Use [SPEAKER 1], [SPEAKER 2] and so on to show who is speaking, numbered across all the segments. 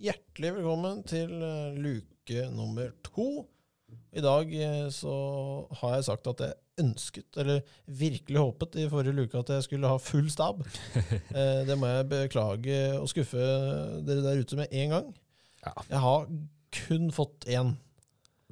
[SPEAKER 1] hjertelig velkommen til eh, luke nummer to. I dag eh, så har jeg sagt at jeg ønsket, eller virkelig håpet i forrige luke, at jeg skulle ha full stab. Eh, Det må jeg beklage og skuffe dere der ute med en gang.
[SPEAKER 2] Ja.
[SPEAKER 1] Jeg har kun fått én.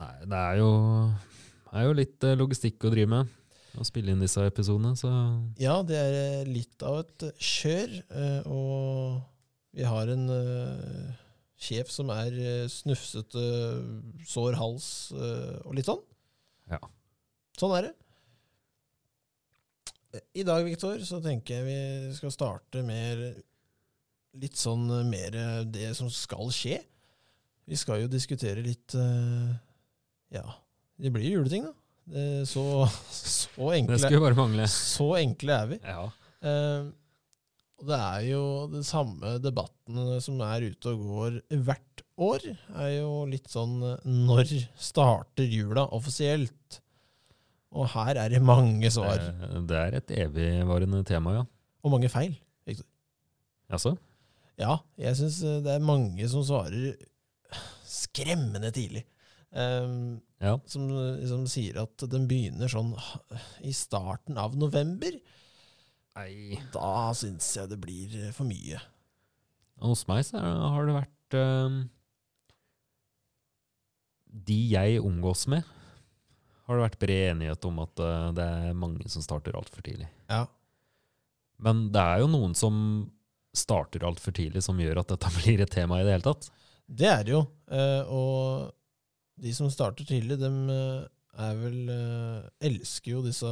[SPEAKER 2] Nei, det er jo, er jo litt eh, logistikk å drive med. Å spille inn disse episodene, så
[SPEAKER 1] Ja, det er eh, litt av et kjør, eh, og vi har en eh, sjef som er eh, snufsete, sår hals eh, og litt sånn.
[SPEAKER 2] Ja.
[SPEAKER 1] Sånn er det. I dag, Viktor, så tenker jeg vi skal starte mer litt sånn eh, mer eh, det som skal skje. Vi skal jo diskutere litt eh, Ja, det blir jo juleting, da. Det- Så, så enkle
[SPEAKER 2] det skulle bare mangle.
[SPEAKER 1] så enkle er vi.
[SPEAKER 2] Ja.
[SPEAKER 1] Eh, og det er jo de samme debattene som er ute og går hvert år, er jo litt sånn eh, Når starter jula offisielt? Og her er det mange svar.
[SPEAKER 2] Eh, Det er et evigvarende tema, ja.
[SPEAKER 1] Og mange feil.
[SPEAKER 2] Jaså?
[SPEAKER 1] Ja, jeg syns det er mange som svarer skremmende tidlig. Eh,
[SPEAKER 2] Ja.
[SPEAKER 1] som liksom sier at den begynner sånn i starten av november.
[SPEAKER 2] Nei.
[SPEAKER 1] Da syns jeg det blir eh, for mye.
[SPEAKER 2] Hos meg så er- har det vært eh, De jeg omgås med, har det vært bred enighet om at eh, det er mange som starter altfor tidlig.
[SPEAKER 1] Ja.
[SPEAKER 2] Men det er jo noen som starter altfor tidlig, som gjør at dette blir et tema i det hele tatt.
[SPEAKER 1] Det er det jo. eh, og de som starter tidlig, de er vel eh, Elsker jo disse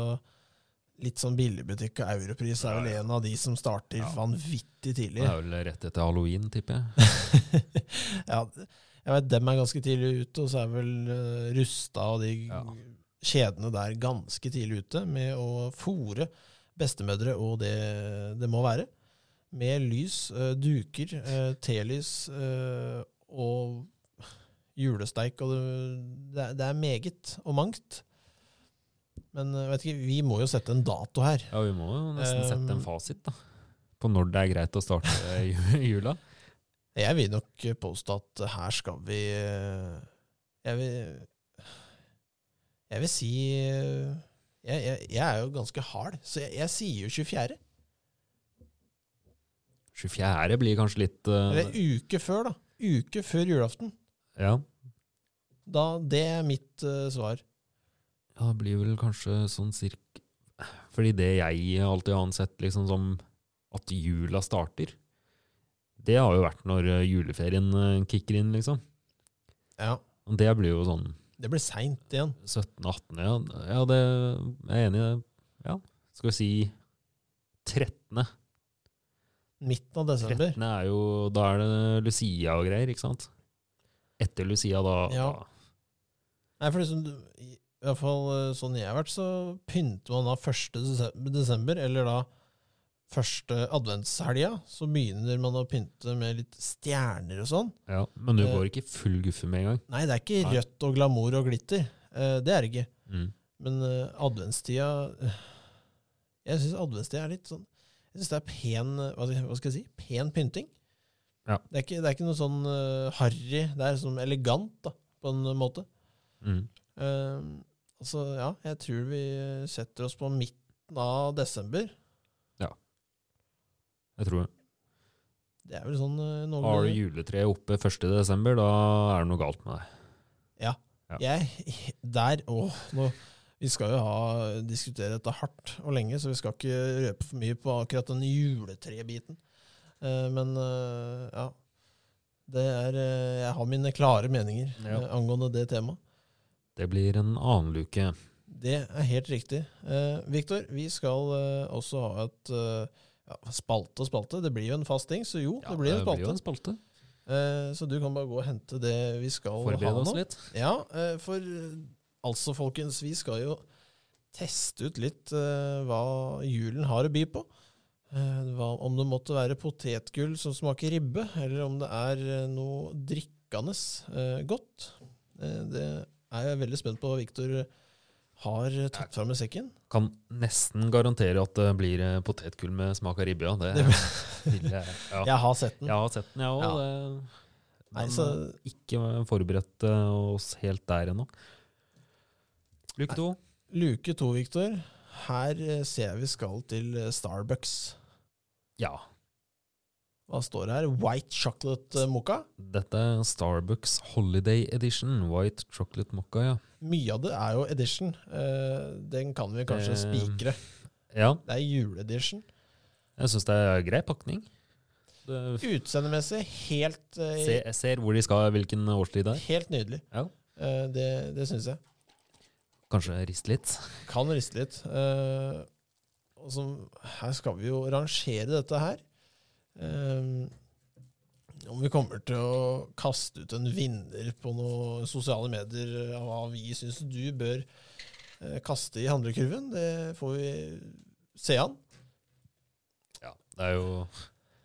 [SPEAKER 1] litt sånn billigbutikk og Europris er vel
[SPEAKER 2] Ja, ja.
[SPEAKER 1] en av de som starter
[SPEAKER 2] Ja.
[SPEAKER 1] vanvittig
[SPEAKER 2] Det
[SPEAKER 1] tidlig.
[SPEAKER 2] er vel rett etter halloween, tipper jeg.
[SPEAKER 1] ja, jeg vet dem er ganske tidlig ute, og så er vel eh, Rusta og de
[SPEAKER 2] Ja.
[SPEAKER 1] kjedene der ganske tidlig ute med å fòre bestemødre og det det må være. Med lys, eh, duker, eh, telys eh, og julesteik. Og det, det, er, det er meget og mangt. Men eh, vet ikke, vi må jo sette en dato her.
[SPEAKER 2] Ja, vi må jo nesten sette
[SPEAKER 1] Um,
[SPEAKER 2] en fasit da, på når det er greit å starte ju- jula.
[SPEAKER 1] Jeg vil nok påstå at her skal vi eh, Jeg vil, jeg vil si eh, jeg, jeg, jeg er jo ganske hard, så jeg, jeg sier jo 24.
[SPEAKER 2] 24. blir kanskje litt eh,
[SPEAKER 1] Eller uke før, da. Uke før julaften.
[SPEAKER 2] ja.
[SPEAKER 1] Da, det er mitt eh, svar.
[SPEAKER 2] ja, det blir vel kanskje sånn cirka Fordi det jeg alltid har ansett liksom som at jula starter, det har jo vært når eh, juleferien eh, kicker inn, liksom.
[SPEAKER 1] Ja.
[SPEAKER 2] Og det blir jo sånn
[SPEAKER 1] Det blir seint igjen.
[SPEAKER 2] 17-18, ja. ja det, jeg er enig i det. Ja. Skal vi si 13.
[SPEAKER 1] Midten av desember.
[SPEAKER 2] 13. er jo Da er det Lucia og greier, ikke sant? Etter Lucia, da,
[SPEAKER 1] Ja.
[SPEAKER 2] da
[SPEAKER 1] Nei, for liksom, du- i i hvert fall eh, sånn jeg har vært, så pynter man da 1. desember- desember, eller da første adventshelga. Så begynner man å pynte med litt stjerner og sånn.
[SPEAKER 2] ja. Men du
[SPEAKER 1] Eh.
[SPEAKER 2] går ikke full guffe med en gang.
[SPEAKER 1] Nei, det er ikke
[SPEAKER 2] Nei.
[SPEAKER 1] rødt og glamour og glitter. Eh, det er det ikke.
[SPEAKER 2] Mm.
[SPEAKER 1] Men eh, adventstida eh, Jeg syns adventstida er litt sånn Jeg syns det er pen eh, hva skal, hva skal jeg si? Pen pynting.
[SPEAKER 2] Ja.
[SPEAKER 1] Det, er ikke, det er ikke noe sånn eh, harry. Det er sånn elegant, da, på en måte.
[SPEAKER 2] Mm.
[SPEAKER 1] Eh, altså, ja, jeg tror vi eh, setter oss på midten av desember.
[SPEAKER 2] Jeg tror det.
[SPEAKER 1] Det er vel sånn eh,
[SPEAKER 2] Har du juletreet oppe 1.12., da er det noe galt med deg.
[SPEAKER 1] Jeg, der, åh, nå, vi skal jo ha, diskutere dette hardt og lenge, så vi skal ikke røpe for mye på akkurat den juletrebiten. Eh, men eh, ja, det er, eh, jeg har mine klare meninger
[SPEAKER 2] Ja.
[SPEAKER 1] eh, angående det temaet.
[SPEAKER 2] Det blir en annen luke.
[SPEAKER 1] Det er helt riktig. Eh, Viktor, vi skal eh, også ha et eh, ja, spalte og spalte. Det blir jo en fast ting, så jo, det blir en spalte.
[SPEAKER 2] jo en spalte.
[SPEAKER 1] Eh, så du kan bare gå og hente det vi skal ha
[SPEAKER 2] Forbered
[SPEAKER 1] nå.
[SPEAKER 2] oss litt.
[SPEAKER 1] Ja, eh, for eh, altså, folkens, vi skal jo teste ut litt eh, hva julen har å by på. Eh, Hva, om det måtte være potetgull som smaker ribbe, eller om det er eh, noe drikkende eh, godt. Eh, det er jeg veldig spent på hva Viktor har eh, tatt fram i sekken.
[SPEAKER 2] Kan nesten garantere at det blir eh, potetgull med smak av ribbe, ja. Det,
[SPEAKER 1] Det-
[SPEAKER 2] vil jeg, ja.
[SPEAKER 1] Jeg har sett den.
[SPEAKER 2] Jeg har sett den, jeg òg.
[SPEAKER 1] Ja.
[SPEAKER 2] Det,
[SPEAKER 1] Nei,
[SPEAKER 2] Men,
[SPEAKER 1] så-
[SPEAKER 2] eh, Ikke forberedt eh, oss helt der ennå. Luke to.
[SPEAKER 1] Luke to, Viktor. Her eh, ser jeg vi skal til eh, Starbucks.
[SPEAKER 2] Ja.
[SPEAKER 1] Hva står det her? White chocolate eh, mocha?
[SPEAKER 2] Dette er Starbucks Holiday Edition, White Chocolate Mocca, ja.
[SPEAKER 1] Mye av det er jo edition. Eh, Den kan vi kanskje
[SPEAKER 2] Det-
[SPEAKER 1] spikre.
[SPEAKER 2] Ja,
[SPEAKER 1] Det er juleedition.
[SPEAKER 2] jeg syns det er grei pakning. Det
[SPEAKER 1] Utseendemessig helt, eh,
[SPEAKER 2] Se, jeg ser hvor de skal, hvilken årstid det er.
[SPEAKER 1] helt nydelig.
[SPEAKER 2] Ja.
[SPEAKER 1] Eh, Det, det syns jeg.
[SPEAKER 2] Kanskje riste litt.
[SPEAKER 1] Kan riste litt. Eh, og så, her skal vi jo rangere dette her. Eh, om vi kommer til å kaste ut en vinner på noen sosiale medier av hva vi syns du bør eh, kaste i handlekurven, det får vi se an.
[SPEAKER 2] Ja, det er jo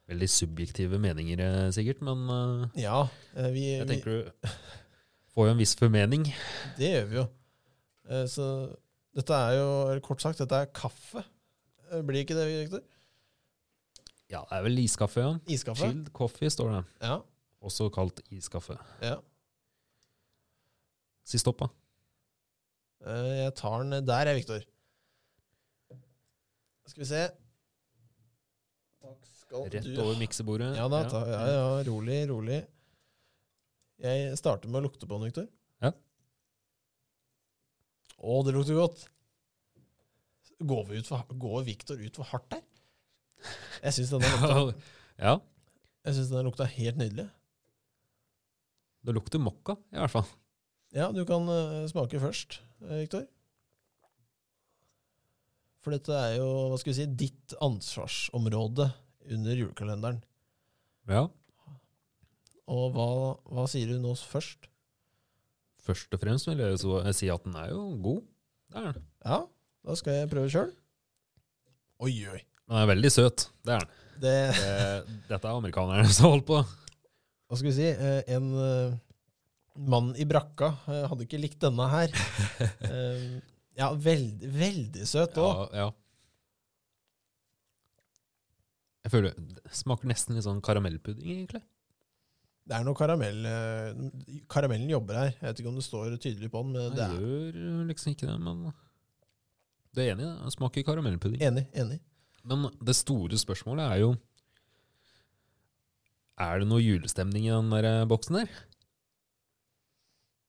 [SPEAKER 2] veldig subjektive meninger, eh, sikkert, men eh,
[SPEAKER 1] Ja, eh, vi,
[SPEAKER 2] jeg
[SPEAKER 1] vi,
[SPEAKER 2] tenker du får jo en viss formening.
[SPEAKER 1] det gjør vi jo. Eh, så dette er jo, eller kort sagt, dette er kaffe. Eh, Blir ikke det, Victor?
[SPEAKER 2] Ja, det er vel iskaffe, ja.
[SPEAKER 1] Iskaffe?
[SPEAKER 2] Chilled coffee står det.
[SPEAKER 1] Ja.
[SPEAKER 2] Også kalt iskaffe.
[SPEAKER 1] ja.
[SPEAKER 2] Si stopp, da.
[SPEAKER 1] Eh, Jeg tar den der, jeg, Viktor. Skal vi se. Takk skal
[SPEAKER 2] Rett
[SPEAKER 1] du
[SPEAKER 2] over miksebordet.
[SPEAKER 1] Ja da, ta, ja, ja, rolig, rolig. Jeg starter med å lukte på den, Viktor.
[SPEAKER 2] Ja.
[SPEAKER 1] Å, det lukter godt. Går, vi ut for, går Viktor ut for hardt der? Jeg syns denne, lukta-
[SPEAKER 2] ja,
[SPEAKER 1] jeg synes denne lukta helt nydelig.
[SPEAKER 2] det lukter mokka, i hvert fall.
[SPEAKER 1] Ja, du kan eh, smake først, eh, Viktor. For dette er jo, hva skal vi si, ditt ansvarsområde under julekalenderen.
[SPEAKER 2] Ja.
[SPEAKER 1] Og hva, hva sier du nå først?
[SPEAKER 2] Først og fremst vil jeg jo så- eh, si at den er jo god. Det er den.
[SPEAKER 1] Ja, da skal jeg prøve sjøl. Oi, oi.
[SPEAKER 2] Den er veldig søt. Det er den.
[SPEAKER 1] Det,
[SPEAKER 2] Det, dette er amerikanerne som har holdt på.
[SPEAKER 1] hva skal vi si, eh, en eh, mann i brakka eh, hadde ikke likt denne her. Eh, Ja, veldig, veldig søt òg.
[SPEAKER 2] Ja, ja. Jeg føler Det smaker nesten litt sånn karamellpudding, egentlig.
[SPEAKER 1] Det er noe karamell eh, Karamellen jobber her. Jeg vet ikke om det står tydelig på den, men det
[SPEAKER 2] Det
[SPEAKER 1] er
[SPEAKER 2] gjør liksom ikke det, men Det er enig, i det. det smaker karamellpudding.
[SPEAKER 1] Enig. enig.
[SPEAKER 2] Men det store spørsmålet er jo Er det noe julestemning i den der boksen der?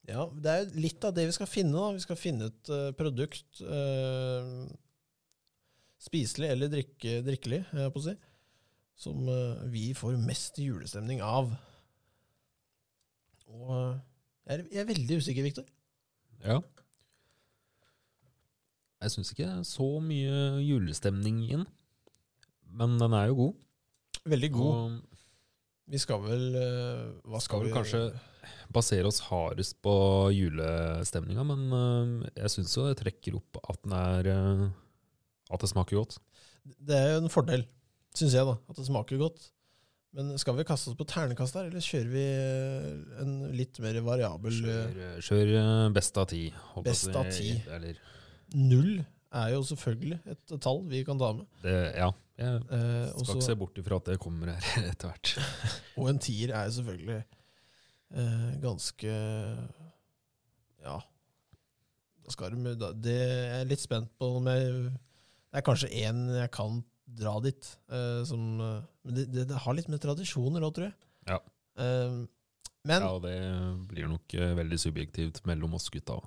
[SPEAKER 1] Ja, Det er jo litt av det vi skal finne. da. Vi skal finne et eh, produkt eh, spiselig eller drikke, drikkelig, jeg holdt på å si, som eh, vi får mest julestemning av. Og eh, jeg er, jeg er veldig usikker, Viktor.
[SPEAKER 2] Ja. Jeg syns ikke det er så mye julestemning i den. Men den er jo god.
[SPEAKER 1] Veldig god.
[SPEAKER 2] Og
[SPEAKER 1] Vi skal vel eh, Hva skal,
[SPEAKER 2] skal vel
[SPEAKER 1] vi
[SPEAKER 2] kanskje basere oss hardest på julestemninga, men øh, jeg syns jo det trekker opp at den er øh, At det smaker godt.
[SPEAKER 1] Det er jo en fordel, syns jeg, da, at det smaker godt. Men skal vi kaste oss på ternekast her, eller kjører vi eh, en litt mer variabel eh,
[SPEAKER 2] Kjør, øh, kjør øh, best av ti. holdt jeg
[SPEAKER 1] Best
[SPEAKER 2] på å
[SPEAKER 1] av
[SPEAKER 2] si.
[SPEAKER 1] ti.
[SPEAKER 2] Eller
[SPEAKER 1] Null er jo selvfølgelig et tall vi kan ta med.
[SPEAKER 2] det, Ja. Jeg
[SPEAKER 1] Eh,
[SPEAKER 2] skal
[SPEAKER 1] også,
[SPEAKER 2] ikke se bort ifra at det kommer her etter hvert.
[SPEAKER 1] og en tier er jo selvfølgelig eh, ganske Ja. Da skal de, da, det jeg er litt spent på om jeg Det er kanskje én jeg kan dra dit. Eh, som, eh, men det, det, det har litt med tradisjoner òg, tror jeg.
[SPEAKER 2] Ja.
[SPEAKER 1] Eh, men
[SPEAKER 2] Ja, og det blir nok øh, veldig subjektivt mellom oss gutta.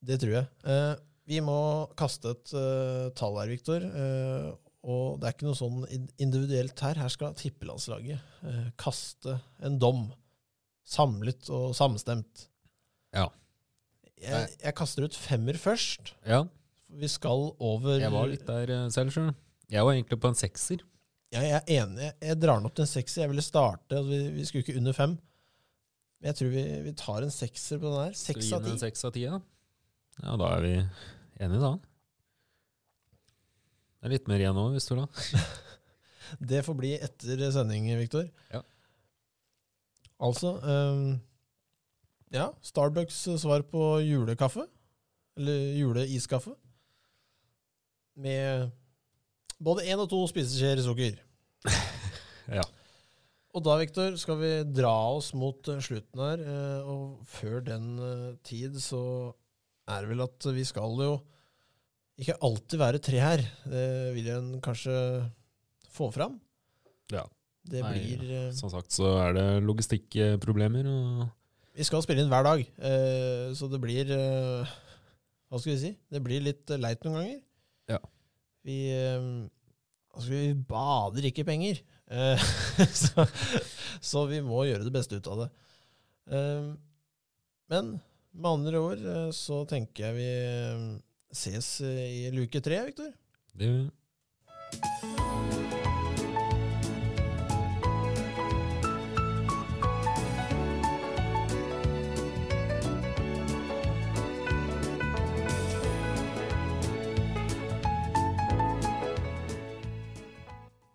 [SPEAKER 1] det tror jeg. Eh, vi må kaste et eh, tall her, Viktor. Eh, og det er ikke noe sånn in- individuelt her. Her skal tippelandslaget eh, kaste en dom. Samlet og samstemt.
[SPEAKER 2] Ja.
[SPEAKER 1] Jeg, jeg kaster ut femmer først.
[SPEAKER 2] Ja,
[SPEAKER 1] Vi skal over
[SPEAKER 2] jeg var litt der øh, selv, sjøl. Jeg var egentlig på en sekser.
[SPEAKER 1] Ja, jeg er enig. Jeg drar den opp til en sekser. Jeg ville starte altså, vi, vi skulle ikke under fem. Men jeg tror vi, vi tar en sekser på den her.
[SPEAKER 2] Skal vi
[SPEAKER 1] Seks
[SPEAKER 2] gi
[SPEAKER 1] av
[SPEAKER 2] den en
[SPEAKER 1] ti.
[SPEAKER 2] Seks av ti, ja. Ja, da er vi enige, da. Det er litt mer igjen nå, hvis du vil ha.
[SPEAKER 1] Det får bli etter sending, Viktor.
[SPEAKER 2] Ja.
[SPEAKER 1] Altså ehm, Ja, Starbucks svar på julekaffe. Eller juleiskaffe. Med både én og to spiseskjeer sukker.
[SPEAKER 2] Ja.
[SPEAKER 1] Og da, Viktor, skal vi dra oss mot eh, slutten her. eh, Og før den eh, tid så er det vel at vi skal jo ikke alltid være tre her. Det vil en kanskje få fram.
[SPEAKER 2] Ja.
[SPEAKER 1] Det
[SPEAKER 2] Nei,
[SPEAKER 1] blir eh,
[SPEAKER 2] Som sagt så er det logistikkproblemer. og
[SPEAKER 1] Vi skal spille inn hver dag, eh, så det blir eh, Hva skal vi si? Det blir litt eh, leit noen ganger.
[SPEAKER 2] Ja.
[SPEAKER 1] Vi, eh, altså, vi bader ikke i penger, eh, så, så vi må gjøre det beste ut av det. Eh, Men med andre ord eh, så tenker jeg vi eh, ses eh, i luke tre, Viktor.
[SPEAKER 2] Det